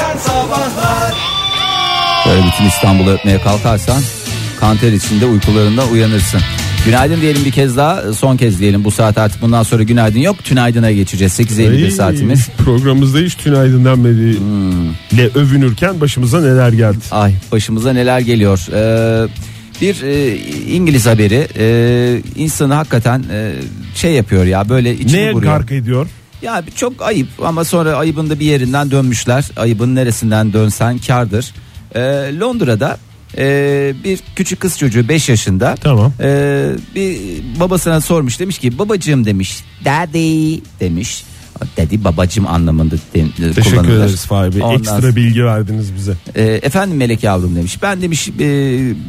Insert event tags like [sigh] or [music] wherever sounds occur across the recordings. sabahlar Böyle bütün İstanbul'u öpmeye kalkarsan kanter içinde uykularından uyanırsın. Günaydın diyelim bir kez daha son kez diyelim bu saat artık bundan sonra günaydın yok tünaydına geçeceğiz 8.51 Ey, saatimiz. Hmm. Programımızda hiç tünaydından beri le övünürken başımıza neler geldi. Ay başımıza neler geliyor. Ee, bir e, İngiliz haberi e, insanı hakikaten e, şey yapıyor ya böyle içini Neye vuruyor. gark ediyor? Ya bir- çok ayıp ama sonra ayıbın da bir yerinden dönmüşler. Ayıbın neresinden dönsen kardır. Ee, Londra'da e, bir küçük kız çocuğu 5 yaşında. Tamam. e, bir babasına sormuş demiş ki babacığım demiş. Daddy demiş. Daddy babacığım anlamında de, e, Teşekkür kullanılır. ederiz Fahri Bey. Ondan Ekstra bilgi verdiniz bize. e, efendim melek yavrum demiş. Ben demiş e,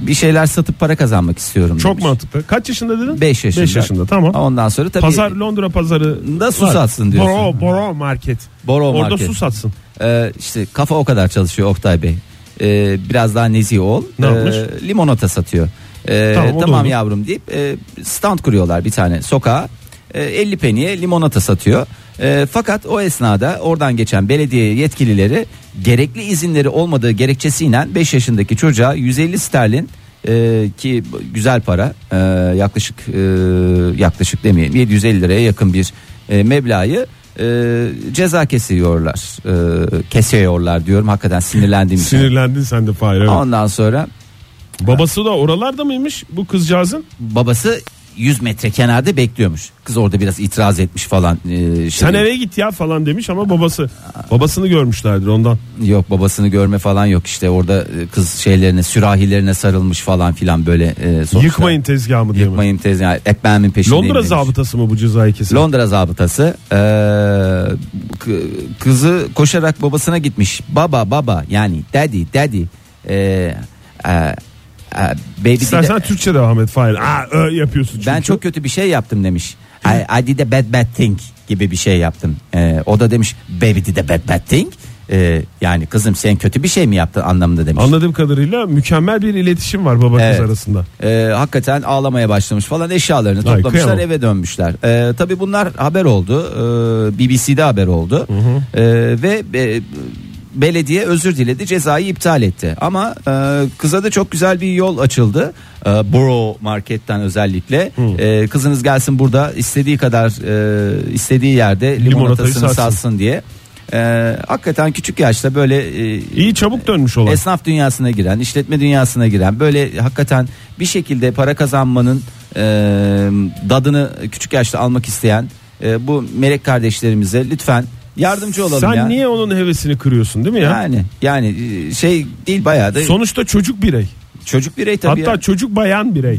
bir şeyler satıp para kazanmak istiyorum Çok demiş. mantıklı. Kaç yaşında dedin? 5 yaşında. Beş yaşında tamam. Ondan sonra tabii Pazar Londra pazarı Da su satsın diyorsun. Boro, Boro market. Borough Orada Market. su satsın. e, işte kafa o kadar çalışıyor Oktay Bey. E, biraz daha nezih ol. Ne E, yapmış? limonata satıyor. E, Tamam, o tamam da olur. yavrum deyip e, stand kuruyorlar bir tane sokağa. E, 50 peniye limonata satıyor. E, fakat o esnada oradan geçen belediye yetkilileri gerekli izinleri olmadığı gerekçesiyle 5 yaşındaki çocuğa 150 sterlin e, ki güzel para e, yaklaşık e, yaklaşık demeyeyim 750 liraya yakın bir e, meblağı e, ceza kesiyorlar. E, kesiyorlar diyorum hakikaten sinirlendiğim için. Sinirlendin sen de Fahri. evet. Ondan sonra Babası da oralarda mıymış bu kızcağızın? babası 100 metre kenarda bekliyormuş. Kız orada biraz itiraz etmiş falan. e, şey- Sen eve git ya falan demiş ama babası. Babasını görmüşlerdir ondan. Yok babasını görme falan yok işte orada e, kız şeylerine sürahilerine sarılmış falan filan böyle. E, sonuçta. Yıkmayın tezgahımı diye mi? Yıkmayın tez yani ekmeğimin peşindeyim. Londra demiş. zabıtası mı bu cezayı kesin? Londra zabıtası e, k- kızı koşarak babasına gitmiş. Baba baba yani daddy daddy. E, e, e, baby did- İstersen Türkçe devam et Fahir. Aa, ö yapıyorsun çünkü. ben çok kötü bir şey yaptım demiş. I, I did a bad bad thing gibi bir şey yaptım. E, o da demiş baby did a bad bad thing. E, yani kızım sen kötü bir şey mi yaptın anlamında demiş. Anladığım kadarıyla mükemmel bir iletişim var baba Evet. kız arasında. Ee, hakikaten ağlamaya başlamış falan eşyalarını Ay, toplamışlar kıyamam. eve dönmüşler. Ee, tabii bunlar haber oldu. Ee, BBC'de haber oldu. Ee, ve e, belediye özür diledi cezayı iptal etti. Ama e, kıza da çok güzel bir yol açıldı. Ee, Borough marketten özellikle. Ee, kızınız gelsin burada istediği kadar e, istediği yerde Limonatasını limonatasını satsın. satsın diye. Ee, hakikaten küçük yaşta böyle e, İyi çabuk dönmüş olan. Esnaf dünyasına giren, işletme dünyasına giren böyle hakikaten bir şekilde para kazanmanın e, dadını küçük yaşta almak isteyen e, bu melek kardeşlerimize lütfen yardımcı olalım Sen ya. niye onun hevesini kırıyorsun değil mi ya? Yani yani e, şey değil bayağı da Sonuçta çocuk birey. çocuk birey tabii. Hatta ya. çocuk bayan birey.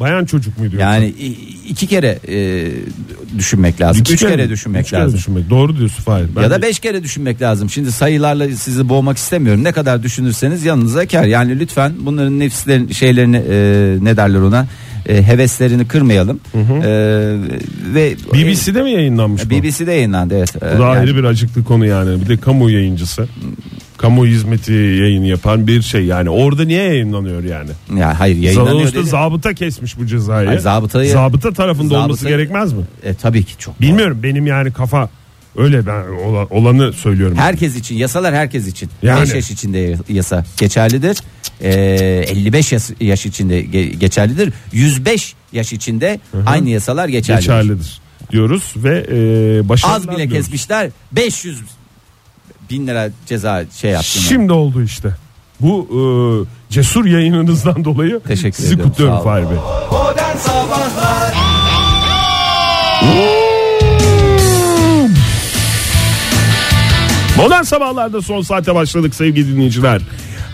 Bayan çocuk muydu? yoksa? Yani i- iki kere e, düşünmek lazım. İki üç kere, düşünmek üç kere lazım. düşünmek. Doğru diyorsun Fahir. ya da Bence- beş kere düşünmek lazım. Şimdi sayılarla sizi boğmak istemiyorum. Ne kadar düşünürseniz yanınıza kar. Yani lütfen bunların nefslerin şeylerini e, ne derler ona E, heveslerini kırmayalım. E, ve e, BBC'de mi yayınlanmış bu? BBC'de yayınlandı evet. E, Bu da yani ayrı bir acıklı konu yani. Bir de kamu yayıncısı. Kamu hizmeti yayını yapan bir şey yani. Orada niye yayınlanıyor yani? yani hayır yayınlanıyor. Sonuçta dedi. zabıta kesmiş bu cezayı. Hayır, zabıtayı- Zabıta tarafında Zabıta- olması gerekmez mi? E, tabii ki çok. Bilmiyorum benim yani kafa öyle ben ola- olanı söylüyorum. Herkes için yasalar herkes için. Yani. 5 yaş içinde yasa geçerlidir. Ee, 55 yaş, yaş içinde ge- geçerlidir. 105 yaş içinde aynı yasalar geçerlidir. geçerlidir diyoruz ve e, başarılar Az bile diliyoruz. kesmişler 500 bin lira ceza şey yaptım. Şimdi oldu işte. Bu e, cesur yayınınızdan dolayı Teşekkür sizi ediyorum. kutluyorum Sağ olun. Fahir Bey. Modern Sabahlar Modern sabahlarda son saate başladık sevgili dinleyiciler.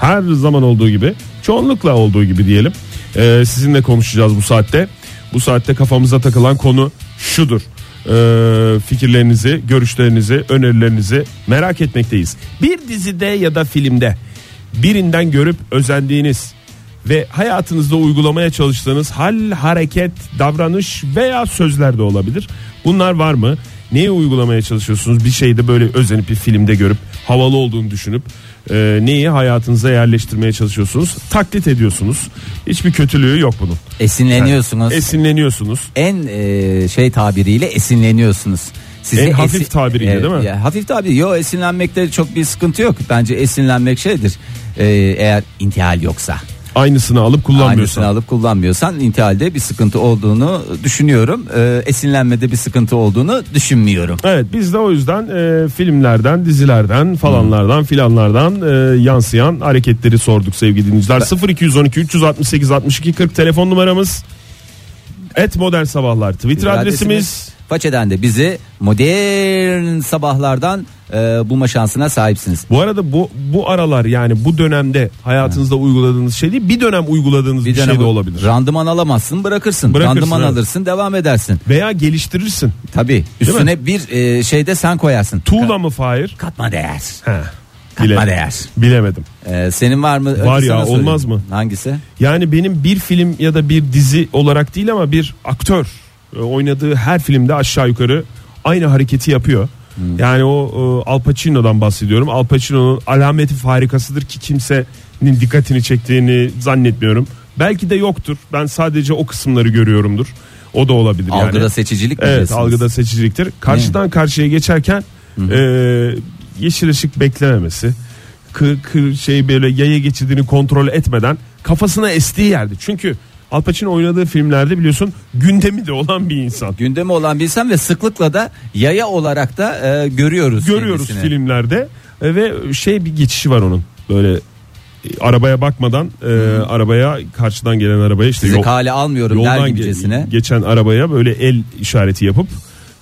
Her zaman olduğu gibi çoğunlukla olduğu gibi diyelim. Ee, sizinle konuşacağız bu saatte. Bu saatte kafamıza takılan konu şudur. Ee, fikirlerinizi, görüşlerinizi, önerilerinizi merak etmekteyiz. Bir dizide ya da filmde birinden görüp özendiğiniz ve hayatınızda uygulamaya çalıştığınız hal, hareket, davranış veya sözler de olabilir. Bunlar var mı? Neyi uygulamaya çalışıyorsunuz? Bir şeyde böyle özenip bir filmde görüp havalı olduğunu düşünüp e, neyi hayatınıza yerleştirmeye çalışıyorsunuz? Taklit ediyorsunuz. Hiçbir kötülüğü yok bunun. Esinleniyorsunuz. Esinleniyorsunuz. en e, şey tabiriyle esinleniyorsunuz. Siz En de hafif tabiriyle Evet, değil mi? ya, hafif tabir. Yo esinlenmekte çok bir sıkıntı yok. Bence esinlenmek şeydir. Ee, eğer intihal yoksa. Aynısını alıp kullanmıyorsan. Aynısını alıp kullanmıyorsan intihalde bir sıkıntı olduğunu düşünüyorum. Ee, esinlenmede bir sıkıntı olduğunu düşünmüyorum. Evet biz de o yüzden e, filmlerden, dizilerden falanlardan filanlardan e, yansıyan hareketleri sorduk sevgili dinleyiciler. 0212 368 62 40 telefon numaramız. Et Modern Sabahlar Twitter adresimiz. Façeden de bizi modern sabahlardan e, bulma şansına sahipsiniz. Bu arada bu bu aralar yani bu dönemde hayatınızda uyguladığınız şey değil bir dönem uyguladığınız bir, şey dönem de olabilir. Randıman alamazsın bırakırsın. Bırakırsın, randıman evet. alırsın devam edersin. Veya geliştirirsin. Tabii üstüne bir e, şeyde sen koyarsın. Tuğla mı Fahir? Katma değer. He. Katma değer. Bilemedim. E, senin var mı? Önce Var sana ya, sorayım. olmaz mı? Hangisi? Yani benim bir film ya da bir dizi olarak değil ama bir aktör e, oynadığı her filmde aşağı yukarı aynı hareketi yapıyor. Yani o e, Al Pacino'dan bahsediyorum. Al Pacino'nun alameti farikasıdır ki kimsenin dikkatini çektiğini zannetmiyorum. Belki de yoktur. Ben sadece o kısımları görüyorumdur. O da olabilir yani. Algıda seçicilik mi? Evet diyorsunuz? algıda seçiciliktir. Karşıdan karşıya geçerken e, yeşil ışık beklememesi. Kır, kır şey böyle yaya geçidini kontrol etmeden kafasına estiği yerde. Çünkü Al Pacino oynadığı filmlerde biliyorsun gündemi de olan bir insan. Gündemi olan bilsem ve sıklıkla da yaya olarak da e, görüyoruz. Görüyoruz kendisini. filmlerde e, ve şey bir geçişi var onun. Böyle e, arabaya bakmadan e, arabaya karşıdan gelen arabaya işte Sizi yol- kale almıyorum der yoldan gibicesine. ge- geçen arabaya böyle el işareti yapıp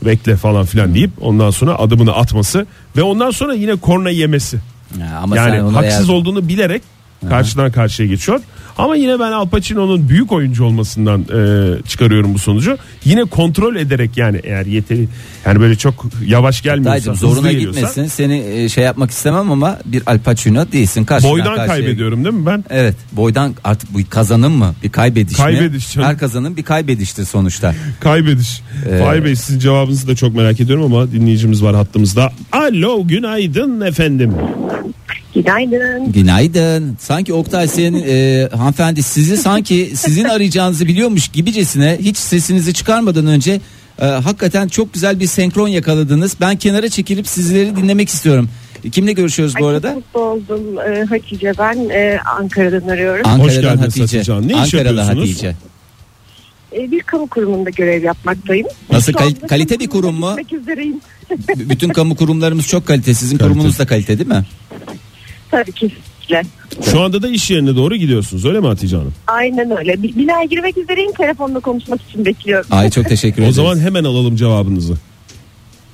bekle falan filan deyip ondan sonra adımını atması ve ondan sonra yine korna yemesi. Ya Ama yani sen onu haksız eğer- olduğunu bilerek karşıdan karşıya geçiyor. Ama yine ben Al Pacino'nun büyük oyuncu olmasından e, çıkarıyorum bu sonucu. Yine kontrol ederek yani eğer yeteri yani böyle çok yavaş gelmiyorsa Dayıcım hızlı E, zoruna geliyorsa, gitmesin. Seni e, şey yapmak istemem ama bir Al Pacino değilsin. Karşıdan Boydan karşıya- kaybediyorum değil mi ben? Evet boydan artık bu kazanım mı bir kaybediş, Kaybediş mi? canım. Her kazanım bir kaybediştir sonuçta. [laughs] Kaybediş. Ee, Fahir Bey sizin cevabınızı da çok merak ediyorum ama dinleyicimiz var hattımızda. Alo günaydın efendim. Günaydın. Günaydın. Sanki Oktay senin e, hanımefendi sizi sanki [laughs] sizin arayacağınızı biliyormuş gibicesine hiç sesinizi çıkarmadan önce e, hakikaten çok güzel bir senkron yakaladınız. Ben kenara çekilip sizleri dinlemek istiyorum. Kimle görüşüyoruz bu Ay, arada? Çok mutlu oldum Ee, Hatice ben e, Ankara'dan arıyorum. Hoş geldiniz Hatice Hanım. Ne iş Ankaralı yapıyorsunuz? Hatice. Ee, bir kamu kurumunda görev yapmaktayım. Nasıl, Şu kal- anda kalite bir kamu kurumuna kurum mu? gitmek üzereyim. B- Bütün kamu kurumlarımız çok kalite. Sizin Kalite. kurumunuz da kalite değil mi? Tabii ki sizle. Şu anda da iş yerine doğru gidiyorsunuz öyle mi Hatice Hanım? Aynen öyle. Bir, binaya girmek üzereyim. Telefonla konuşmak için bekliyorum. Ay çok teşekkür [laughs] O ederiz. zaman hemen alalım cevabınızı.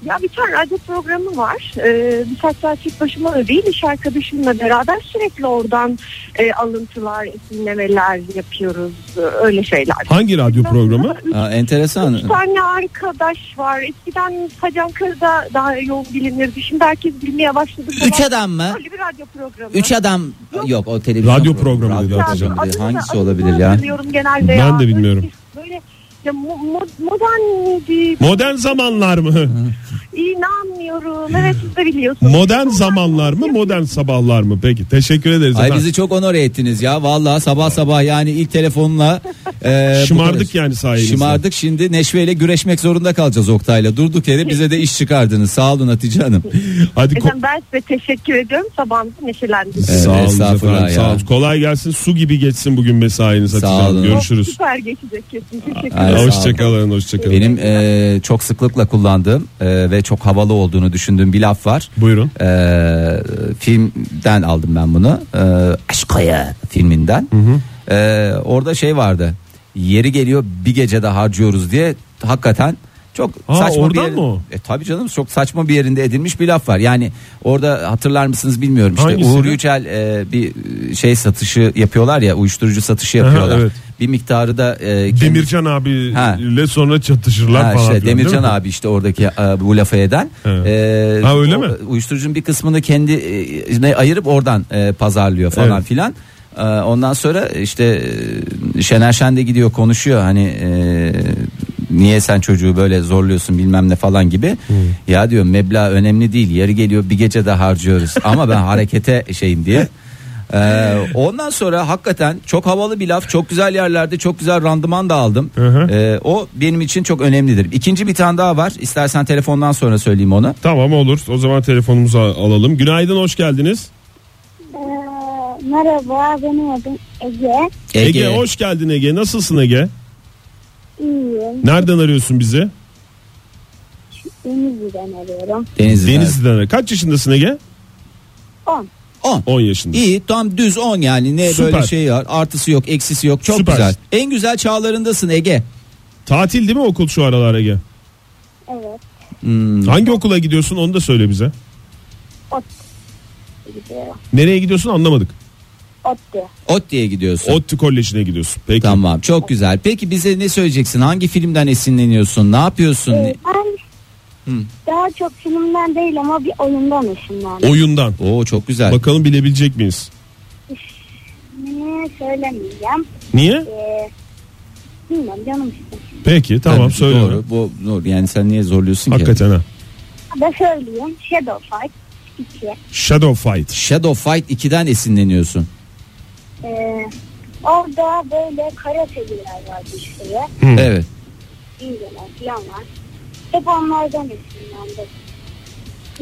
Ya bir tane radyo programı var. Ee, birkaç saat tek başıma da değil. iş arkadaşımla beraber sürekli oradan e, alıntılar, esinlemeler yapıyoruz. Ee, öyle şeyler. Hangi radyo programı? Üç Aa, enteresan. Bir tane arkadaş var. Eskiden Sacan Karı'da daha yoğun bilinirdi. Şimdi herkes bilmeye başladı. Üç adam mı? Öyle bir radyo programı. Üç adam yok o televizyon Radyo programı dedi radyo Hatice Hanım. programı Adını dedi. da- Hangisi adını olabilir ya? hatırlıyorum genelde Ben ya. de Böyle bilmiyorum. bir- Böyle ya mo- mo- modern miydi? Modern zamanlar mı? İnanmıyorum. Evet siz de biliyorsunuz. Modern zamanlar mı? Modern sabahlar mı? Peki teşekkür ederiz. Ay efendim. bizi çok onore ettiniz ya. Vallahi sabah sabah yani ilk telefonla e, bu [laughs] Şımardık kadar- yani sayenizde. Şımardık şimdi neşveyle güreşmek zorunda kalacağız Oktay'la. Durduk yere bize de iş çıkardınız. Sağ olun Hatice Hanım. Hadi ko- Efendim ben size teşekkür ediyorum. Sabahınızı neşelendiniz. Evet, sağ olun estağfurullah efendim. Sağ ya. olun. Kolay gelsin. Su gibi geçsin bugün mesainiz Hatice Sağ Hanım. olun. Görüşürüz. Süper geçecek kesin. Teşekkür Ay, ederim. sağ Hoşçakalın. Hoşçakalın. Benim e, çok sıklıkla kullandığım e, ve çok havalı olduğunu düşündüğüm bir laf var. Buyurun. Ee, filmden aldım ben bunu. Ee, Aşk Kaya filminden. Ee, orada şey vardı. Yeri geliyor bir gecede harcıyoruz diye hakikaten çok Ha, saçma bir oradan yerin- mı o? E, tabii canım çok saçma bir yerinde edilmiş bir laf var. Yani orada hatırlar mısınız bilmiyorum. İşte Hangisi? Uğur Yücel e, bir şey satışı yapıyorlar ya uyuşturucu satışı yapıyorlar. evet. Bir miktarı da e, kendi- Demircan abi Ha. ile sonra çatışırlar Ha, falan. işte filan, Demircan değil mi? abi işte oradaki e, bu lafı eden. Evet. E, Ha, öyle mi? Uyuşturucunun bir kısmını kendine ayırıp oradan e, pazarlıyor falan Evet. filan. E, ondan sonra işte e, Şener Şen de gidiyor konuşuyor hani e, niye sen çocuğu böyle zorluyorsun bilmem ne falan gibi. Hmm. Ya [laughs] diyor meblağ önemli değil yeri geliyor bir gece de harcıyoruz ama ben harekete şeyim diye. Ee, ondan sonra hakikaten çok havalı bir laf. Çok güzel yerlerde çok güzel randıman da aldım. hı. Ee, o benim için çok önemlidir. İkinci bir tane daha var. İstersen telefondan sonra söyleyeyim onu. Tamam olur. O zaman telefonumuzu al- alalım. Günaydın hoş geldiniz. Ee, merhaba benim adım Ege. Ege. hoş geldin Ege. Nasılsın Ege? İyiyim. Nereden arıyorsun bizi? Denizli'den arıyorum. Denizli. Denizli'den. arıyor. Kaç yaşındasın Ege? 10. 10. 10 yaşındasın. İyi tam düz 10 yani ne Süper. böyle şey var artısı yok eksisi yok çok Süper. güzel. En güzel çağlarındasın Ege. Tatil değil mi okul şu aralar Ege? Evet. Hmm, Hangi okula gidiyorsun onu da söyle bize. Ot. Gidiyorum. Nereye gidiyorsun anlamadık. Ot diyor. ot diye gidiyorsun. ODTÜ Koleji'ne gidiyorsun. Peki. Tamam çok güzel. Peki bize ne söyleyeceksin? Hangi filmden esinleniyorsun? Ne yapıyorsun? Ee, ben Hı. daha çok filmden değil ama bir oyundan E? ışınlandım. Oyundan. Oo çok güzel. Bakalım bilebilecek miyiz? Ne söylemeyeceğim. Niye? Ee, bilmiyorum canım işte. Peki tamam Tabii, söyle. Doğru, bu, doğru. Yani sen niye zorluyorsun ki? Hakikaten ha. Ben söyleyeyim. Shadow Fight 2. Shadow Fight. Shadow Fight 2'den esinleniyorsun. Ee, orada böyle karateciler var bir sürü. Evet. İngilizler falan var. Hep onlardan esinlendim.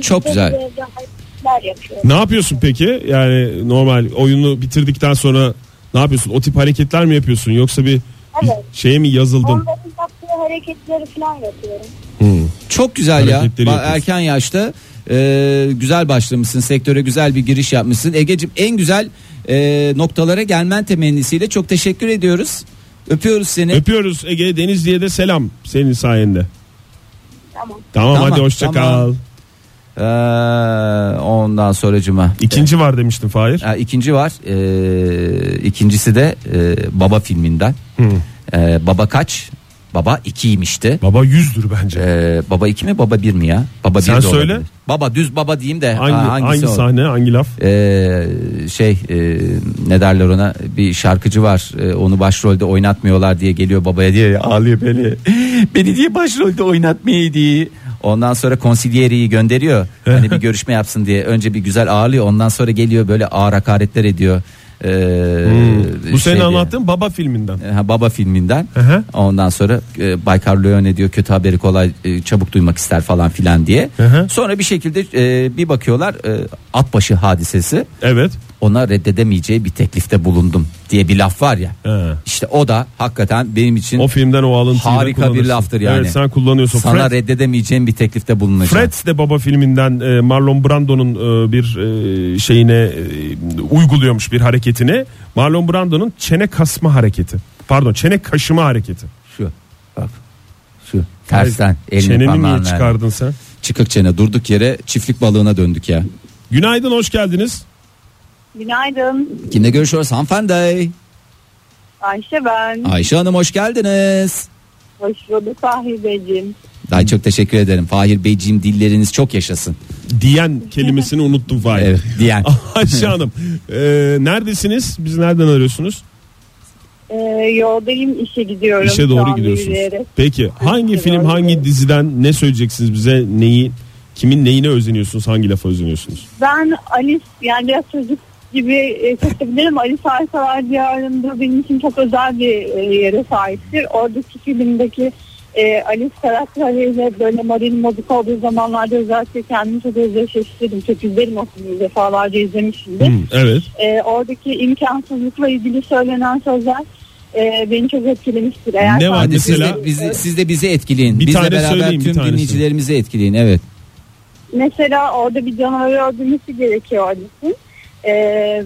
Çok İşte güzel. böyle hareketler yapıyorum. Ne yapıyorsun peki? Yani normal oyunu bitirdikten sonra ne yapıyorsun? O tip hareketler mi yapıyorsun? Yoksa bir, bir Evet. şeye mi yazıldın? Onların yaptığı hareketleri falan yapıyorum. Hmm. Çok güzel ya. Hareketleri Ba- yapıyorsun. Erken yaşta e, güzel başlamışsın. Sektöre güzel bir giriş yapmışsın. Egeciğim en güzel e, noktalara gelmen temennisiyle çok teşekkür ediyoruz. Öpüyoruz seni. Öpüyoruz Ege Denizli'ye de selam senin sayende. Tamam. Tamam, Tamam, hadi hoşça tamam. kal. Ee, ondan sonra cuma. İkinci var demiştin Fahir. ikinci var. Ee, ikincisi de e, Baba filminden. Hmm. Ee, baba kaç? Baba ikiymişti. Baba yüzdür bence. Ee, baba iki mi baba bir mi ya? Baba bir Sen de söyle. olabilir. Baba düz baba diyeyim de. hangi ha, hangi, hangisi o? sahne hangi laf? Ee, şey e, ne derler ona bir şarkıcı var Ee, onu başrolde oynatmıyorlar diye geliyor babaya diye ağlıyor beni [laughs] beni diye başrolde oynatmayı diye ondan sonra konsilyeriyi gönderiyor hani bir görüşme yapsın diye önce bir güzel ağırlıyor ondan sonra geliyor böyle ağır hakaretler ediyor Ee, Hmm. Bu şey senin diye. anlattığın baba filminden. Ha, baba filminden Hı hı. ondan sonra e, Baykar Leone diyor kötü haberi kolay e, çabuk duymak ister falan filan diye Hı hı. sonra bir şekilde e, bir bakıyorlar e, atbaşı hadisesi Evet. ona reddedemeyeceği bir teklifte bulundum diye bir laf var ya. He. İşte o da hakikaten benim için O filmden o alıntıyı da Harika bir kullanırsın. laftır yani. Evet sen kullanıyorsun. sana Fred, reddedemeyeceğim bir teklifte bulunacağım. Fred de baba filminden e, Marlon Brando'nun e, bir e, şeyine e, uyguluyormuş bir hareketini. Marlon Brando'nun çene kasma hareketi. Pardon çene kaşıma hareketi. Şu bak şu tersten elini Çeneni niye parmağınla. çıkardın sen? Çıkık çene durduk yere çiftlik balığına döndük ya. Günaydın hoş geldiniz. Günaydın. Kimle görüşüyoruz hanımefendi? Ayşe ben. Ayşe Hanım hoş geldiniz. Hoş bulduk Fahri Beyciğim. Ay çok teşekkür ederim. Fahir Beyciğim dilleriniz çok yaşasın. Diyen kelimesini unuttum Fahir. Evet diyen. [laughs] Ah, Ayşe Hanım e, neredesiniz? Bizi nereden arıyorsunuz? Ee, yoldayım işe gidiyorum. İşe Şu doğru anda gidiyorsunuz. yürüyerek. Peki hangi Yürüyerek. film hangi diziden ne söyleyeceksiniz bize neyi kimin neyine özeniyorsunuz hangi lafa özeniyorsunuz? Ben Alice yani biraz çocuk gibi e, seçebilirim. Alice Harikalar Diyarı'nda benim için çok özel bir e, yere sahiptir. Oradaki filmdeki e, Alice karakteriyle böyle Marilyn Modica olduğu zamanlarda özellikle kendimi çok özdeşleştirdim. Çok izlerim o filmi defalarca izlemişimdir. evet. E, oradaki imkansızlıkla ilgili söylenen sözler e, beni çok etkilemiştir. Eğer Ne var Hadi siz mesela? de, bizi, siz de bizi etkileyin. Bir Bizle tane beraber söyleyin, bir tüm tanesini. dinleyicilerimizi etkileyin. Evet. Mesela orada bir canavarı öldürmesi gerekiyor Alice'in. Ee,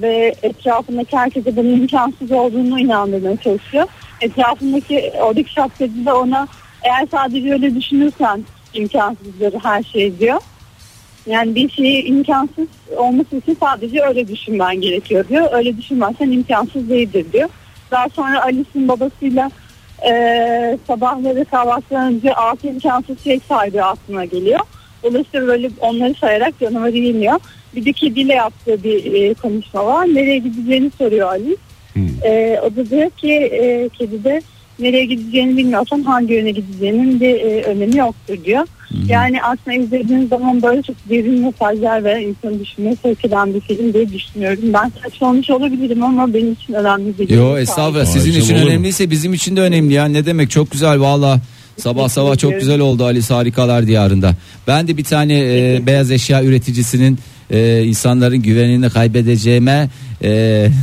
ve etrafındaki herkese bunun imkansız olduğunu inandırmaya çalışıyor. Etrafındaki oradaki şapkacı da ona eğer sadece öyle düşünürsen imkansızdır her şey diyor. Yani bir şeyi imkansız olması için sadece öyle düşünmen gerekiyor diyor. Öyle düşünmezsen imkansız değildir diyor. Daha sonra Alice'in babasıyla eee Ee, sabahları kahvaltıdan önce altı imkansız şey saydığı aklına geliyor. Dolayısıyla böyle onları sayarak canavarı yeniyor. Bir de kediyle yaptığı bir e, konuşma var. Nereye gideceğini soruyor Ali. E, o da diyor ki e, kedi de nereye gideceğini bilmiyorsan hangi yöne gideceğinin bir e, önemi yoktur diyor. Yani aslında izlediğiniz zaman böyle çok derin mesajlar ve insanı düşünmeye sevk eden bir film diye düşünüyorum. Ben saçmalamış olabilirim ama benim için önemli değil. Yo estağfurullah Ay sizin canım, için olur mu? önemliyse bizim için de önemli ya ne demek çok güzel valla sabah sabah çok ederim. güzel oldu Ali Harikalar Diyarı'nda. Ben de bir tane e, beyaz eşya üreticisinin e, insanların güvenini kaybedeceğime e, [laughs]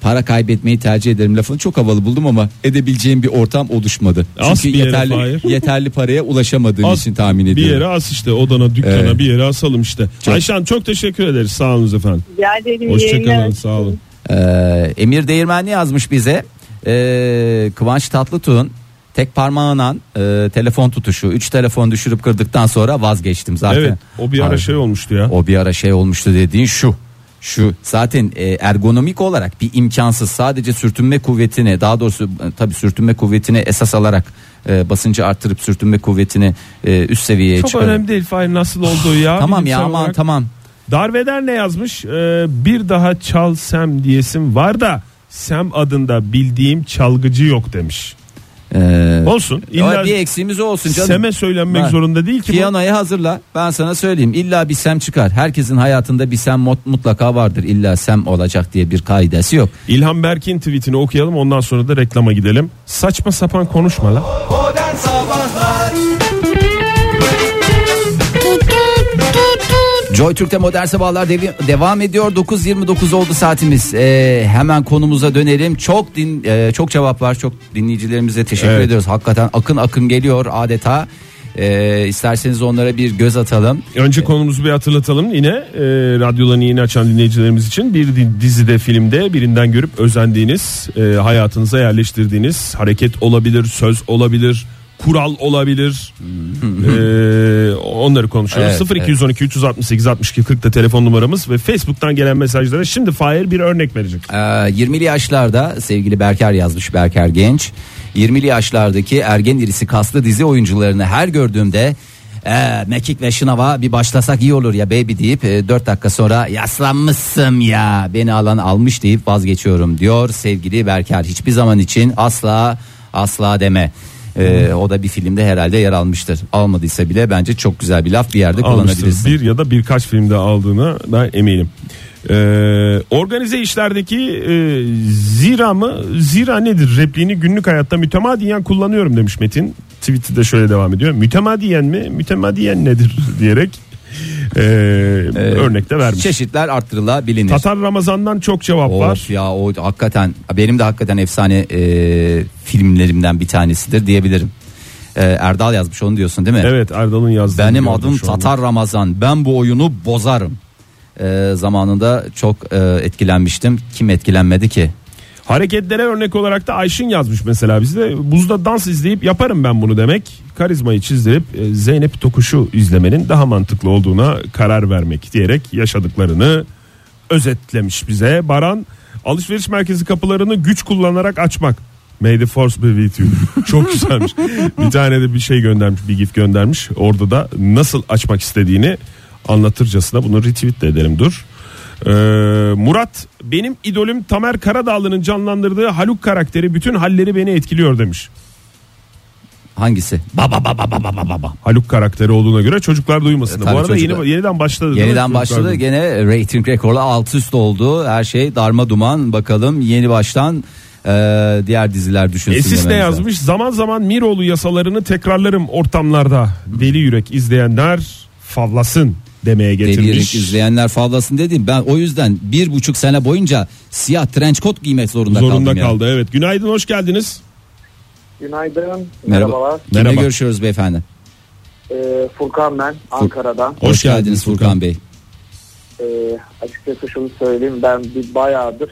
para kaybetmeyi tercih ederim lafını çok havalı buldum ama edebileceğim bir ortam oluşmadı. As Çünkü bir yere, yeterli, Fahir. yeterli paraya ulaşamadığım As- için tahmin Bir ediyorum. yere as işte odana dükkana Evet. bir yere asalım işte. Çok- Ayşen çok teşekkür ederiz sağ olun efendim. Rica ederim. Hoşçakalın yayınlar sağ olun. Ee, Emir Değirmenli yazmış bize. Ee, Kıvanç Tatlıtuğ'un tek parmağıyla e, telefon tutuşu. Üç telefon düşürüp kırdıktan sonra vazgeçtim zaten. Evet o bir ara Abi, şey olmuştu ya. O bir ara şey olmuştu dediğin şu. Şu zaten e, ergonomik olarak bir imkansız sadece sürtünme kuvvetini daha doğrusu e, tabii sürtünme kuvvetini esas alarak e, basıncı arttırıp sürtünme kuvvetini e, üst seviyeye Çok çıkarıp- önemli değil Fahir nasıl olduğu ya. [sighs] Tamam ya bilimsel aman olarak. tamam. Darveder ne yazmış? Ee, bir daha çal Sem diyesim var da Sem adında bildiğim çalgıcı yok demiş. Ee, Olsun. o İlla bir eksiğimiz o olsun canım. Sem'e söylenmek Ha. zorunda değil ki. bu. Piyanoyu hazırla. Ben sana söyleyeyim. İlla bir sem çıkar. Herkesin hayatında bir sem mot- mutlaka vardır. İlla sem olacak diye bir kaidesi yok. İlhan Berk'in tweetini okuyalım ondan sonra da reklama gidelim. Saçma sapan konuşma lan. Modern Sabahlar Joy Türk'te modern sabahlar devi- devam ediyor. 9.29 oldu saatimiz. Ee, hemen konumuza dönelim. Çok din, e, çok cevap var. Çok dinleyicilerimize teşekkür Evet. ediyoruz. Hakikaten akın akın geliyor adeta. Ee, isterseniz onlara bir göz atalım. Önce konumuzu bir hatırlatalım yine e, radyolarını yeni açan dinleyicilerimiz için bir di- dizide filmde birinden görüp özendiğiniz e, hayatınıza yerleştirdiğiniz hareket olabilir söz olabilir kural olabilir E, onları konuşuyoruz Hmm. Evet, 0212 368 62 40 da telefon numaramız ve Facebook'tan gelen mesajlara şimdi Fahir bir örnek verecek. Ee, 20'li yaşlarda sevgili Berker yazmış Berker Genç. 20'li yaşlardaki ergen irisi kaslı dizi oyuncularını her gördüğümde "Ee, Mekik ve Şınav'a bir başlasak iyi olur ya baby deyip 4 dakika sonra yaslanmışsın ya beni alan almış deyip vazgeçiyorum diyor sevgili Berker. Hiçbir zaman için asla asla deme. Ee, o da bir filmde herhalde yer almıştır. Almadıysa bile bence çok güzel bir laf bir yerde Almıştır. kullanabilirsin. Bir ya da birkaç filmde aldığını ben eminim. Ee, organize işlerdeki e, zira mı zira nedir repliğini günlük hayatta mütemadiyen kullanıyorum demiş Metin. Tweet'i de şöyle devam ediyor. Mütemadiyen mi mütemadiyen nedir [laughs] diyerek e, Ee, örnek de vermiş. Çeşitler arttırılabilir. Tatar Ramazan'dan çok cevap var. şey- Of ya o hakikaten benim de hakikaten efsane e, filmlerimden bir tanesidir diyebilirim. E, Erdal yazmış onu diyorsun değil mi? Evet Erdal'ın yazdığı. Benim adım Tatar Ramazan. Ben bu oyunu bozarım. E, zamanında çok e, etkilenmiştim. Kim etkilenmedi ki? Hareketlere örnek olarak da Ayşin yazmış mesela bizde. Buzda dans izleyip yaparım ben bunu demek. Karizmayı çizdirip e, Zeynep Tokuş'u izlemenin daha mantıklı olduğuna karar vermek diyerek yaşadıklarını özetlemiş bize. Baran alışveriş merkezi kapılarını güç kullanarak açmak. May the force be with you. [laughs] Çok güzelmiş. bir tane de bir şey göndermiş, bir gif göndermiş. Orada da nasıl açmak istediğini anlatırcasına bunu retweet de ederim dur. Ee, Murat benim idolüm Tamer Karadağlı'nın canlandırdığı Haluk karakteri bütün halleri beni etkiliyor demiş. Hangisi? Baba baba baba baba baba. Haluk karakteri olduğuna göre çocuklar duymasın. E, Bu tabii arada çocuklar- yeni, yeniden başladı. değil mi? Yeniden Çocuklar başladı. duymasın. Gene rating rekorla alt üst oldu. Her şey darma duman. Bakalım yeni baştan e, diğer diziler düşünsün. Esis ne dememiz lazım. E, yazmış? Zaman zaman Miroğlu yasalarını tekrarlarım ortamlarda. Deli yürek izleyenler favlasın demeye Delirerek getirmiş. izleyenler favlasın dedim. Ben o yüzden bir buçuk sene boyunca siyah trench coat giymek zorunda, Zorunda kaldım. yani. kaldı. Evet. Günaydın hoş geldiniz. Günaydın. Merhaba. Merhabalar. Kimle Merhaba. görüşüyoruz beyefendi? Ee, Furkan ben Ankara'dan. Hoş geldiniz Furkan. Bey. Ee, açıkçası şunu söyleyeyim ben bir bayağıdır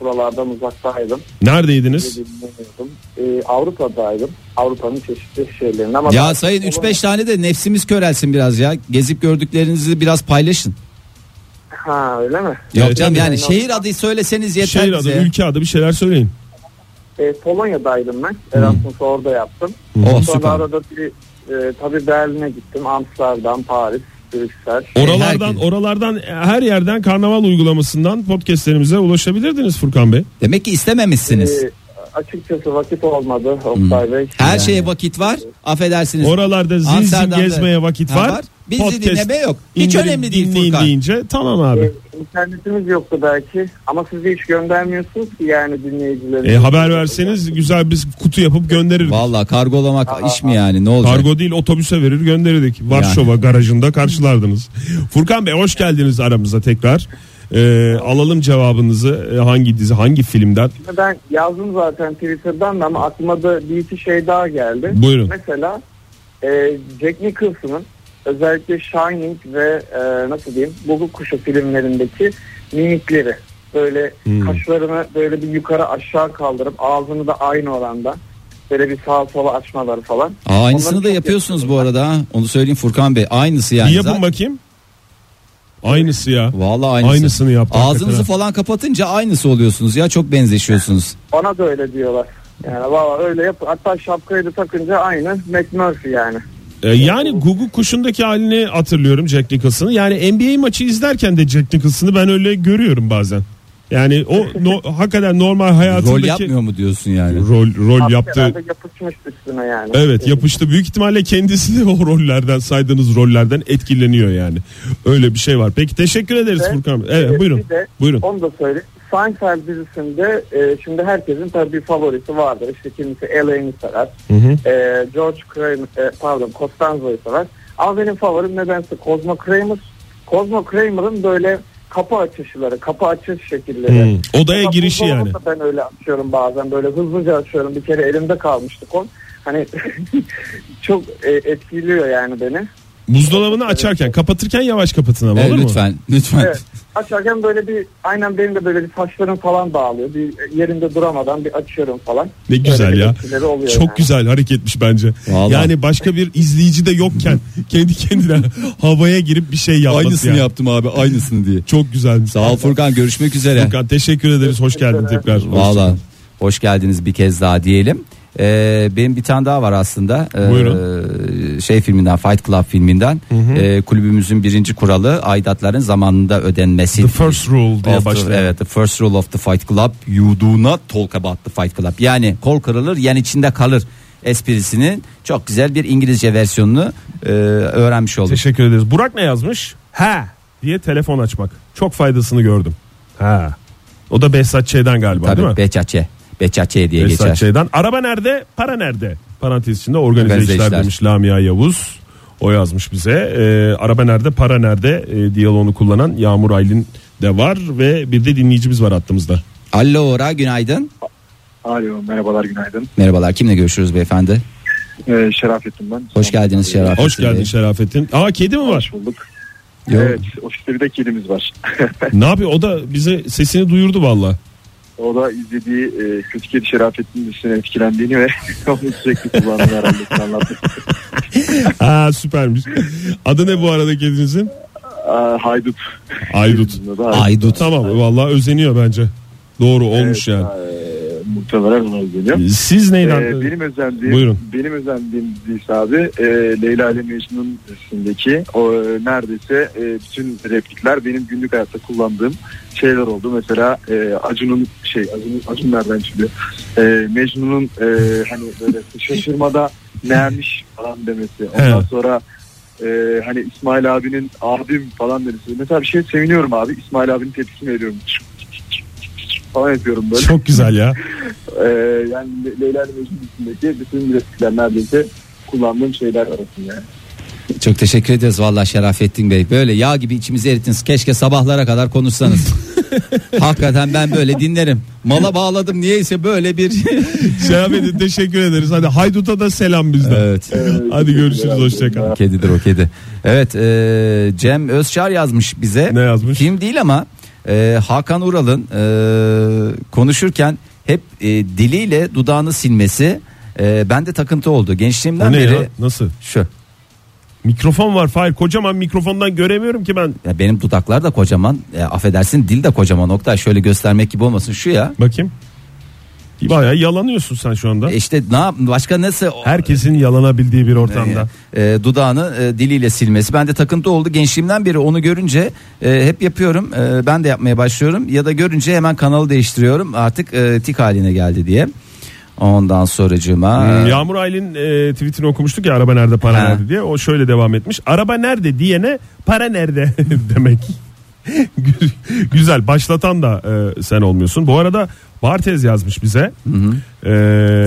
buralardan uzaktaydım. Neredeydiniz? Dinlemiyordum. Ee, Avrupa'daydım. Avrupa'nın çeşitli şehirlerinde ama Ya ben- sayın 3-5 tane de nefsimiz körelsin biraz ya. Gezip gördüklerinizi biraz paylaşın. Ha öyle mi? Yok Evet, canım tabii. yani şehir adı söyleseniz yeter Şehir Şey adı, bize. ülke adı bir şeyler söyleyin. Ee, Polonya'daydım ben. Erasmus'u orada yaptım. Oh, Sonra süper. arada bir e, tabii Berlin'e gittim. Amsterdam, Paris, Brüksel. Oralardan E, herkes- oralardan her yerden karnaval uygulamasından podcastlerimize ulaşabilirdiniz Furkan Bey. Demek ki istememişsiniz. Ee, açıkçası vakit olmadı Oktay Bey. Her şey Yani şeye vakit var. Affedersiniz. Oralarda zin zin Amsterdam'da- gezmeye vakit Ha, var. var. Bizi dinleme yok. Hiç indirin, önemli değil dinleyin Furkan. deyince tamam abi. Ee, internetimiz yoktu belki ama siz de hiç göndermiyorsunuz ki yani dinleyicilerimiz. E, haber verseniz güzel biz kutu yapıp gönderirdik. Vallahi kargolamak iş mi yani ne olacak? Kargo değil otobüse verir gönderirdik. Varşova garajında karşılardınız. Furkan Bey hoş geldiniz aramıza tekrar. E, alalım cevabınızı E, hangi dizi hangi filmden Ben yazdım zaten Twitter'dan da ama aklıma da bir iki şey daha geldi. Buyurun. Mesela e, Jack Nicholson'ın özellikle Shining ve e, nasıl diyeyim Buguk Kuşu filmlerindeki mimikleri böyle Hmm. kaşlarını böyle bir yukarı aşağı kaldırıp ağzını da aynı oranda böyle bir sağa sola açmaları falan. Aa, aynısını Onları da çok yapıyorsunuz bu yapıyorum. arada. ha. Onu söyleyeyim Furkan Bey. Aynısı yani. Bir yapın Zaten- bakayım. Aynısı ya. Vallahi aynısı. Aynısını yaptı Ağzınızı hakikaten. falan kapatınca aynısı oluyorsunuz ya çok benzeşiyorsunuz. Ona da öyle diyorlar. Yani valla öyle yap. Hatta şapkayı da takınca aynı McMurphy yani. E, yani Guguk kuşundaki halini hatırlıyorum Jack Nicholson'ı. Yani NBA maçı izlerken de Jack Nicholson'ı ben öyle görüyorum bazen. Yani o no, hakikaten normal hayatındaki Rol yapmıyor mu diyorsun yani? rol, rol yaptı. Herhalde yapışmış üstüne yani. Evet yapıştı. Büyük ihtimalle kendisi de o rollerden saydığınız rollerden etkileniyor yani. Öyle bir şey var. Peki teşekkür ederiz Ve- Furkan. Bey. Evet Ee, buyurun. Bir de Buyurun. onu da söyleyeyim. Seinfeld dizisinde e, şimdi herkesin tabii bir favorisi vardır. İşte kimisi Elaine'i sever. E, George Kramer, e, pardon Costanzo'yu sever. Ama benim favorim nedense Cosmo Kramer. Cosmo Kramer'ın böyle kapı açışları, kapı açış şekilleri. Hmm, odaya Mesela girişi buzdolabını yani. da Ben öyle açıyorum bazen böyle hızlıca açıyorum. Bir kere elimde kalmıştı kon. Hani [laughs] çok e, etkiliyor yani beni. Buzdolabını açarken kapatırken yavaş kapatın ama Evet, olur mu? lütfen lütfen. Evet. Açarken böyle bir aynen benim de böyle bir saçlarım falan dağılıyor. Bir yerinde duramadan bir açıyorum falan. Ne güzel Böyle bir ya. etkileri oluyor Çok yani. güzel hareketmiş bence. Vallahi. Yani başka bir izleyici de yokken kendi kendine havaya girip bir şey yapması. yani. yaptım abi aynısını diye. Çok güzelmiş. Sağ ol Furkan görüşmek üzere. Furkan teşekkür ederiz. Hoş geldin tekrar. Valla hoş geldiniz bir kez daha diyelim. Ee, benim bir tane daha var aslında. Ee, Şey filminden Fight Club filminden. Ee, kulübümüzün birinci kuralı aidatların zamanında ödenmesi. The first rule diye Of the- başlıyor. evet the first rule of the fight club you do not talk about the fight club. Yani kol kırılır yan içinde kalır esprisinin çok güzel bir İngilizce versiyonunu e, öğrenmiş olduk. Teşekkür ederiz. Burak ne yazmış? Ha diye telefon açmak. Çok faydasını gördüm. Ha. O da Behzat Ç'den galiba değil mi? Tabii Beçaçe. Beçaçe diye Behzat geçer. Ç'den. Araba nerede? Para nerede? Parantez içinde organize, Organize işler, işler. demiş Lamia Yavuz. O yazmış bize. Ee, araba nerede? Para nerede? E, diyaloğunu kullanan Yağmur Aylin de var ve bir de dinleyicimiz var hattımızda. Alo Ora günaydın. Alo merhabalar günaydın. Merhabalar kimle görüşürüz beyefendi? Ee, Şerafettin ben. Ee, Hoş geldiniz Şeraf. Hoş geldin Şerafettin. Aa kedi mi var? Hoş bulduk. Yok. Evet ofiste bir de kedimiz var. [laughs] ne yapıyor? O da bize sesini duyurdu valla. o da izlediği e, kötü kedi Şerafettin'in üstüne etkilendiğini ve [laughs] onu sürekli kullandığını herhalde size anlattı. Aa süpermiş. Adı ne bu arada kedinizin? Aa, haydut. Aydut. Kedimizin adı Haydut. Aydut. Tamam valla özeniyor bence. Doğru olmuş yani. Ee, muhtemelen ona geliyor. Siz neyden? Ee, benim özendiğim Buyurun. benim özendiğim dizisi abi e, Leyla ile Mecnun dizisindeki o e, neredeyse e, bütün replikler benim günlük hayatta kullandığım şeyler oldu. Mesela e, Acun'un şey Acun, Acun nereden çıktı? E, Mecnun'un e, hani böyle şaşırmada neymiş falan demesi. Ondan He. sonra e, hani İsmail abinin abim falan demesi. Mesela bir şey seviniyorum abi İsmail abinin tepkisini veriyorum. falan yapıyorum böyle. Çok güzel ya. Ee, yani Le- Leyla ile Mecnun dizisindeki bütün replikler neredeyse kullandığım şeyler arasında. Yani. Çok teşekkür ederiz vallahi Şerafettin Bey. Böyle yağ gibi içimizi erittiniz. Keşke sabahlara kadar [laughs] konuşsanız. Hakikaten ben böyle dinlerim. Mala bağladım niyeyse böyle bir Şerafettin teşekkür ederiz. Hadi Haydut'a da selam bizden. [laughs] Evet. Ee, [laughs] Hadi görüşürüz hoşçakal. Ee, Kedidir o kedi. Evet e, Cem Özçar yazmış bize. Ne yazmış? Kim değil ama e, Hakan Ural'ın e, konuşurken hep e, diliyle dudağını silmesi e, bende takıntı oldu. Gençliğimden Bu ne beri ya? Nasıl? şu. Mikrofon var Fahir. Kocaman mikrofondan göremiyorum ki ben. Ya benim dudaklar da kocaman. E, affedersin dil de kocaman. Oktay şöyle göstermek gibi olmasın şu ya. Bakayım. Bayağı yalanıyorsun sen şu anda. E İşte ne yap başka nasıl Herkesin yalanabildiği bir ortamda. E, dudağını e, diliyle silmesi. Bende takıntı oldu. Gençliğimden beri onu görünce e, hep yapıyorum. E, ben de yapmaya başlıyorum. Ya da görünce hemen kanalı değiştiriyorum. Artık e, tik haline geldi diye. Ondan sonracığıma Hmm, Yağmur Aylin e, tweetini okumuştuk ya araba nerede para Ha. nerede diye. O şöyle devam etmiş. Araba nerede diyene para nerede [laughs] demek. Gü- Güzel başlatan da e, sen olmuyorsun. Bu arada Bartez yazmış bize. E,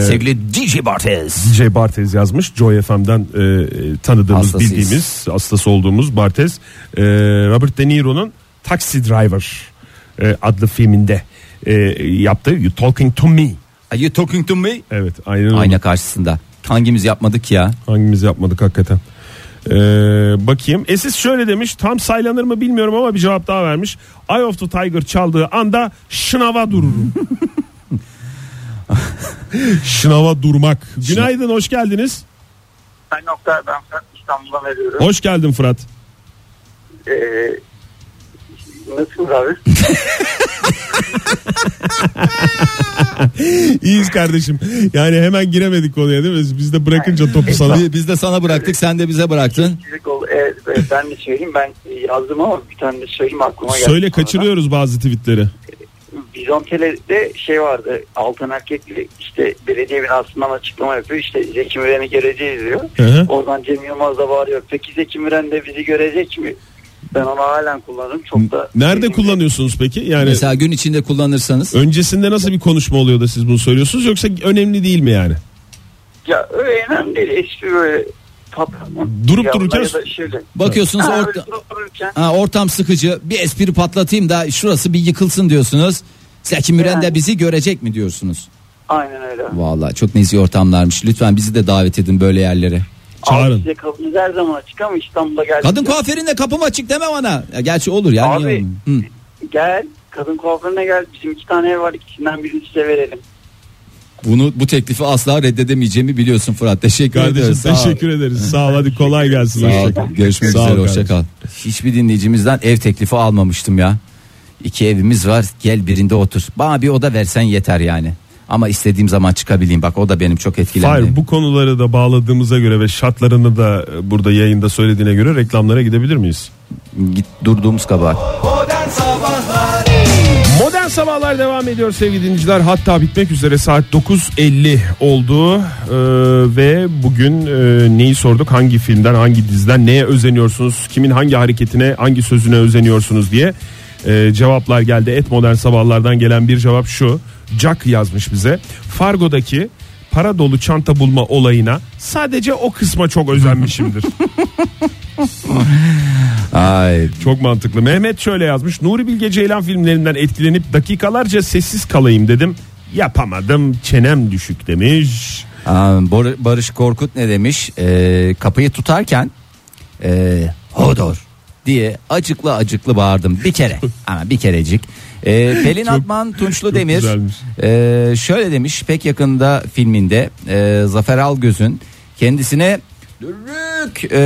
sevgili DJ Bartez. DJ Bartez yazmış. Joy FM'den e, e, tanıdığımız, Hastasıyız. bildiğimiz, hastası olduğumuz Bartez. E, Robert De Niro'nun Taxi Driver e, adlı filminde e, yaptığı You Talking To Me. Are you talking to me? Evet aynen öyle. Ayna karşısında. Hangimiz yapmadık ya? Hangimiz yapmadık hakikaten. Ee, bakayım. Esis şöyle demiş. Tam saylanır mı bilmiyorum ama bir cevap daha vermiş. Eye of the Tiger çaldığı anda şınava [laughs] dururum. şınava durmak. Günaydın hoş geldiniz. Ben nokta ben Fırat İstanbul'dan veriyorum. Hoş geldin Fırat. Ee, nasılsınız abi? [laughs] İyiyiz kardeşim. Yani hemen giremedik konuya değil mi? Biz de bırakınca topu sana. Biz de sana bıraktık sen de bize bıraktın. Fizik ol- e, e, ben de söyleyeyim ben yazdım ama bir tane de söyleyeyim aklıma geldi. Söyle kaçırıyoruz bazı tweetleri. Bizontele'de şey vardı Altan Erkekli işte belediye binasından açıklama yapıyor işte Zeki Müren'i göreceğiz diyor. Hı hı. Oradan Cem Yılmaz da bağırıyor. Peki Zeki Müren de bizi görecek mi? Ben onu halen kullanırım. Çok da Nerede kullanıyorsunuz peki? Yani Mesela gün içinde kullanırsanız. öncesinde nasıl bir konuşma oluyor da siz bunu söylüyorsunuz yoksa önemli değil mi yani? Ya öyle önemli değil. Espri böyle patlama. Durup Ya dururken- ya da şöyle. Bakıyorsunuz Ha, orta, öyle durup dururken ha, ortam sıkıcı. Bir espri patlatayım da şurası bir yıkılsın diyorsunuz. Zeki Müren de Yani. bizi görecek mi diyorsunuz? aynen öyle. Vallahi çok nezih ortamlarmış. Lütfen bizi de davet edin böyle yerlere. Çağırın. Abi size kapımız her zaman açık ama İstanbul'a geldik. Kadın Ya. kuaföründe kapım açık deme bana. Ya gerçi olur ya. Abi. niye olmuyor? Hı. Gel kadın kuaförüne gel. Bizim iki tane ev var. İkisinden birini size verelim. Bunu bu teklifi asla reddedemeyeceğimi biliyorsun Fırat. Teşekkür Kardeşim ederiz. Sağ ol. teşekkür ederiz. Sağ ol hadi kolay gelsin. Sağ ol. hoşça kal. Görüşmek Sağ ol üzere. kardeşim. Hoşça kal. Hiçbir dinleyicimizden ev teklifi almamıştım ya. İki evimiz var. Gel birinde otur. Bana bir oda versen yeter yani. Ama istediğim zaman çıkabileyim. Bak o da benim çok Fahir etkilendiğim. bu konuları da bağladığımıza göre ve şartlarını da burada yayında söylediğine göre reklamlara gidebilir miyiz? Git durduğumuz kabahat. Modern Sabahlar Modern sabahlar devam ediyor sevgili dinleyiciler. Hatta bitmek üzere saat 9.50 oldu. Ee, ve bugün e, neyi sorduk? Hangi filmden, hangi diziden neye özeniyorsunuz? Kimin hangi hareketine, hangi sözüne özeniyorsunuz diye e, cevaplar geldi. Et Modern Sabahlar'dan gelen bir cevap şu. Jack yazmış bize. Fargo'daki para dolu çanta bulma olayına sadece o kısma çok özenmişimdir. Ay Çok mantıklı. Mehmet şöyle yazmış. Nuri Bilge Ceylan filmlerinden etkilenip dakikalarca sessiz kalayım dedim. Yapamadım. Çenem düşük demiş. Aa, Bar- Barış Korkut ne demiş? Ee, kapıyı tutarken ee, Hodor diye acıklı acıklı bağırdım bir kere ama bir kerecik. Ee, Pelin Atman Tunçlu Demir güzelmiş. ee, şöyle demiş pek yakında filminde ee, Zafer Algöz'ün kendisine dürük ee,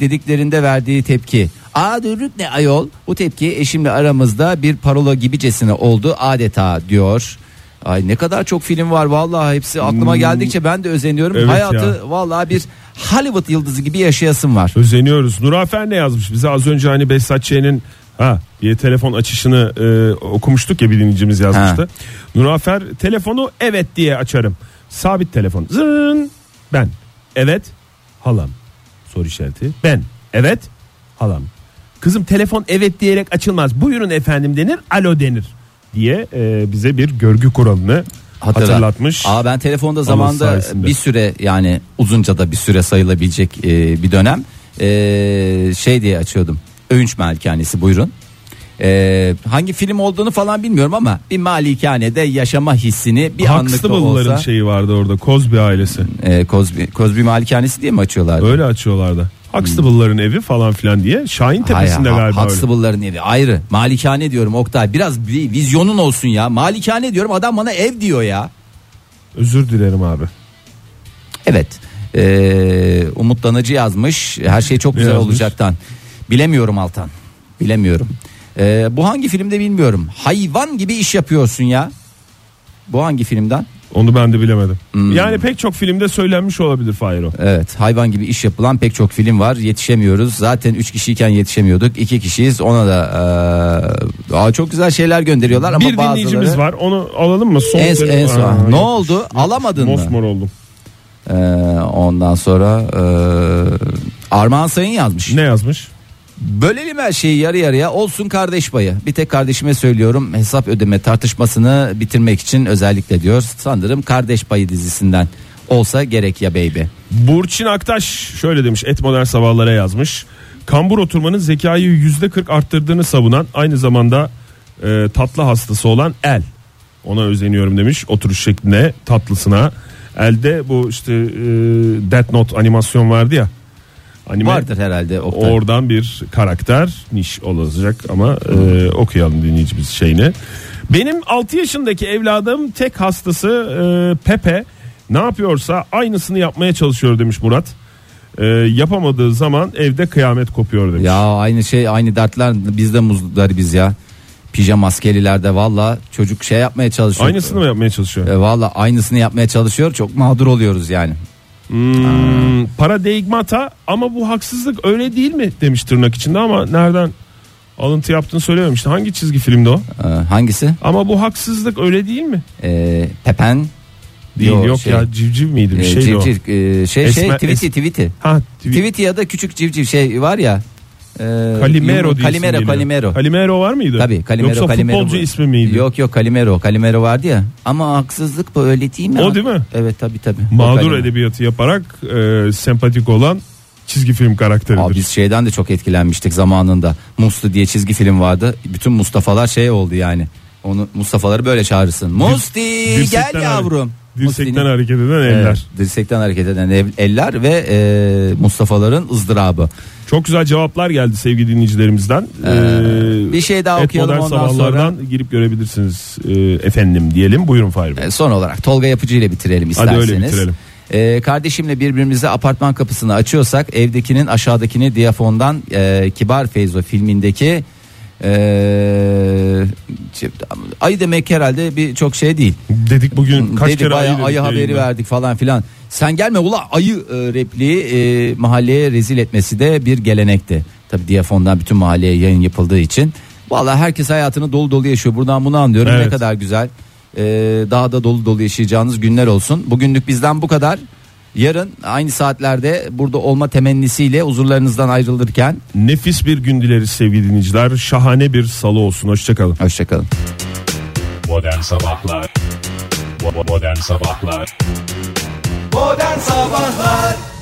dediklerinde verdiği tepki. Aa dürük ne ayol bu tepki eşimle aramızda bir parola gibicesine oldu adeta diyor. Ay ne kadar çok film var vallahi hepsi aklıma geldikçe ben de özeniyorum. Evet Hayatı vallahi bir Hollywood yıldızı gibi yaşayasım var. Özeniyoruz. Nurafer ne yazmış bize? Az önce hani Behzat Ç'nin ha diye telefon açışını e, okumuştuk ya bir dinleyicimiz yazmıştı. Ha. Nurafer telefonu evet diye açarım. Sabit telefon. Zın ben. Evet halam. Soru işareti. Ben. Evet halam. Kızım telefon evet diyerek açılmaz. Buyurun efendim denir. Alo denir diye e, bize bir görgü kuralını Hatırlat. hatırlatmış. Aa ben telefonda zamanda sayesinde. bir süre yani uzunca da bir süre sayılabilecek e, bir dönem e, şey diye açıyordum. Övünç Malikanesi buyurun. E, hangi film olduğunu falan bilmiyorum ama bir malikanede yaşama hissini bir anlık da Huxtable'ların şey- olsa şeyi vardı orada. Kozbi ailesi. e, Kozbi, Kozbi Malikanesi diye mi açıyorlardı? Öyle açıyorlardı. Huxtable'ların evi falan filan diye. Şahin tepesinde Hayır, galiba öyle. Huxtable'ların evi ayrı. Malikane diyorum Oktay. Biraz bir vizyonun olsun ya. Malikane diyorum adam bana ev diyor ya. Özür dilerim abi. Evet. Ee, umutlanıcı yazmış. Her şey çok Ne güzel yazmış? olacaktan. Bilemiyorum Altan. Bilemiyorum. E, Ee, bu hangi filmde bilmiyorum. Hayvan gibi iş yapıyorsun ya. Bu hangi filmden? Onu ben de bilemedim. Hmm. Yani pek çok filmde söylenmiş olabilir Fahir o. Evet hayvan gibi iş yapılan pek çok film var yetişemiyoruz zaten 3 kişiyken yetişemiyorduk 2 kişiyiz ona da eee, aa, çok güzel şeyler gönderiyorlar ama bir dinleyicimiz bazıları var onu alalım mı? Son en, sene- en son- Aa, ne yok. oldu alamadın mı Mosmor oldum. Eee, ondan sonra eee Armağan Sayın yazmış Ne yazmış? Bölelim her şeyi yarı yarıya olsun kardeş payı. Bir tek kardeşime söylüyorum hesap ödeme tartışmasını bitirmek için özellikle diyor. Sanırım kardeş payı dizisinden olsa gerek ya baby. Burçin Aktaş şöyle demiş et modern sabahlara yazmış. Kambur oturmanın zekayı yüzde kırk arttırdığını savunan aynı zamanda e, tatlı hastası olan el. Ona özeniyorum demiş oturuş şekline tatlısına. Elde bu işte e, Death Note animasyon vardı ya. Anime, Vardır herhalde Oktay. Oradan bir karakter niş olacak ama e, okuyalım dinleyicimiz şeyini. Benim 6 yaşındaki evladım tek hastası e, Pepe ne yapıyorsa aynısını yapmaya çalışıyor demiş Murat. E, yapamadığı zaman evde kıyamet kopuyor demiş. ya aynı şey aynı dertler bizde muzlar biz ya. Pijama maskelilerde valla çocuk şey yapmaya çalışıyor. Aynısını mı yapmaya çalışıyor? E, valla aynısını yapmaya çalışıyor çok mağdur oluyoruz yani. Hmm, para deigmata ama bu haksızlık öyle değil mi demiş tırnak içinde ama nereden alıntı yaptığını söylememişti. Hangi çizgi filmdi o? E, hangisi? Ama bu haksızlık öyle değil mi? E, Pepen. Değil Yo, yok, şey, ya civciv miydi e, bir şeydi o. civciv, e, şey şey Esmer- Tweety es- Tweety. Ha, tweet. Tweety ya da küçük civciv şey var ya. E, Kalimero yumru- diyorsun Kalimero yine. Kalimero. Kalimero var mıydı? Tabii Kalimero Yoksa Kalimero. futbolcu bu. ismi miydi? Yok yok Kalimero. Kalimero vardı ya. Ama haksızlık bu öyle değil mi? O değil mi? Evet tabii tabii. O Mağdur Kalimero. edebiyatı yaparak e, sempatik olan çizgi film karakteridir. Aa, biz şeyden de çok etkilenmiştik zamanında. Muslu diye çizgi film vardı. Bütün Mustafa'lar şey oldu yani. Onu Mustafa'ları böyle çağırırsın. Musti gel dirsekten hare- yavrum. Dirsekten Musti'nin- hareket eden Evet, eller. dirsekten hareket eden ev- eller ve e, Mustafa'ların ızdırabı. Çok güzel cevaplar geldi sevgili dinleyicilerimizden. Ee, bir şey daha et okuyalım modern ondan sabahlardan girip görebilirsiniz e, efendim diyelim. Buyurun Fahir Bey. E, Son olarak Tolga Yapıcı ile bitirelim isterseniz. öyle bitirelim. E, kardeşimle birbirimize apartman kapısını açıyorsak evdekinin aşağıdakini diyafondan e, Kibar Feyzo filmindeki e, ayı demek herhalde bir çok şey değil. Dedik bugün kaç Dedi kere bayağı dedik ayı haberi yayında. verdik falan filan. Sen gelme ula ayı e, repliği e, mahalleye rezil etmesi de bir gelenekti. Tabi diyafondan bütün mahalleye yayın yapıldığı için. Valla herkes hayatını dolu dolu yaşıyor. Buradan bunu anlıyorum Evet. ne kadar güzel. E, daha da dolu dolu yaşayacağınız günler olsun. Bugünlük bizden bu kadar. Yarın aynı saatlerde burada olma temennisiyle huzurlarınızdan ayrılırken Nefis bir gün dileriz sevgili dinleyiciler. Şahane bir salı olsun. Hoşçakalın. hoşçakalın. Modern Sabahlar Bo- bo- Modern Sabahlar Modern Sabahlar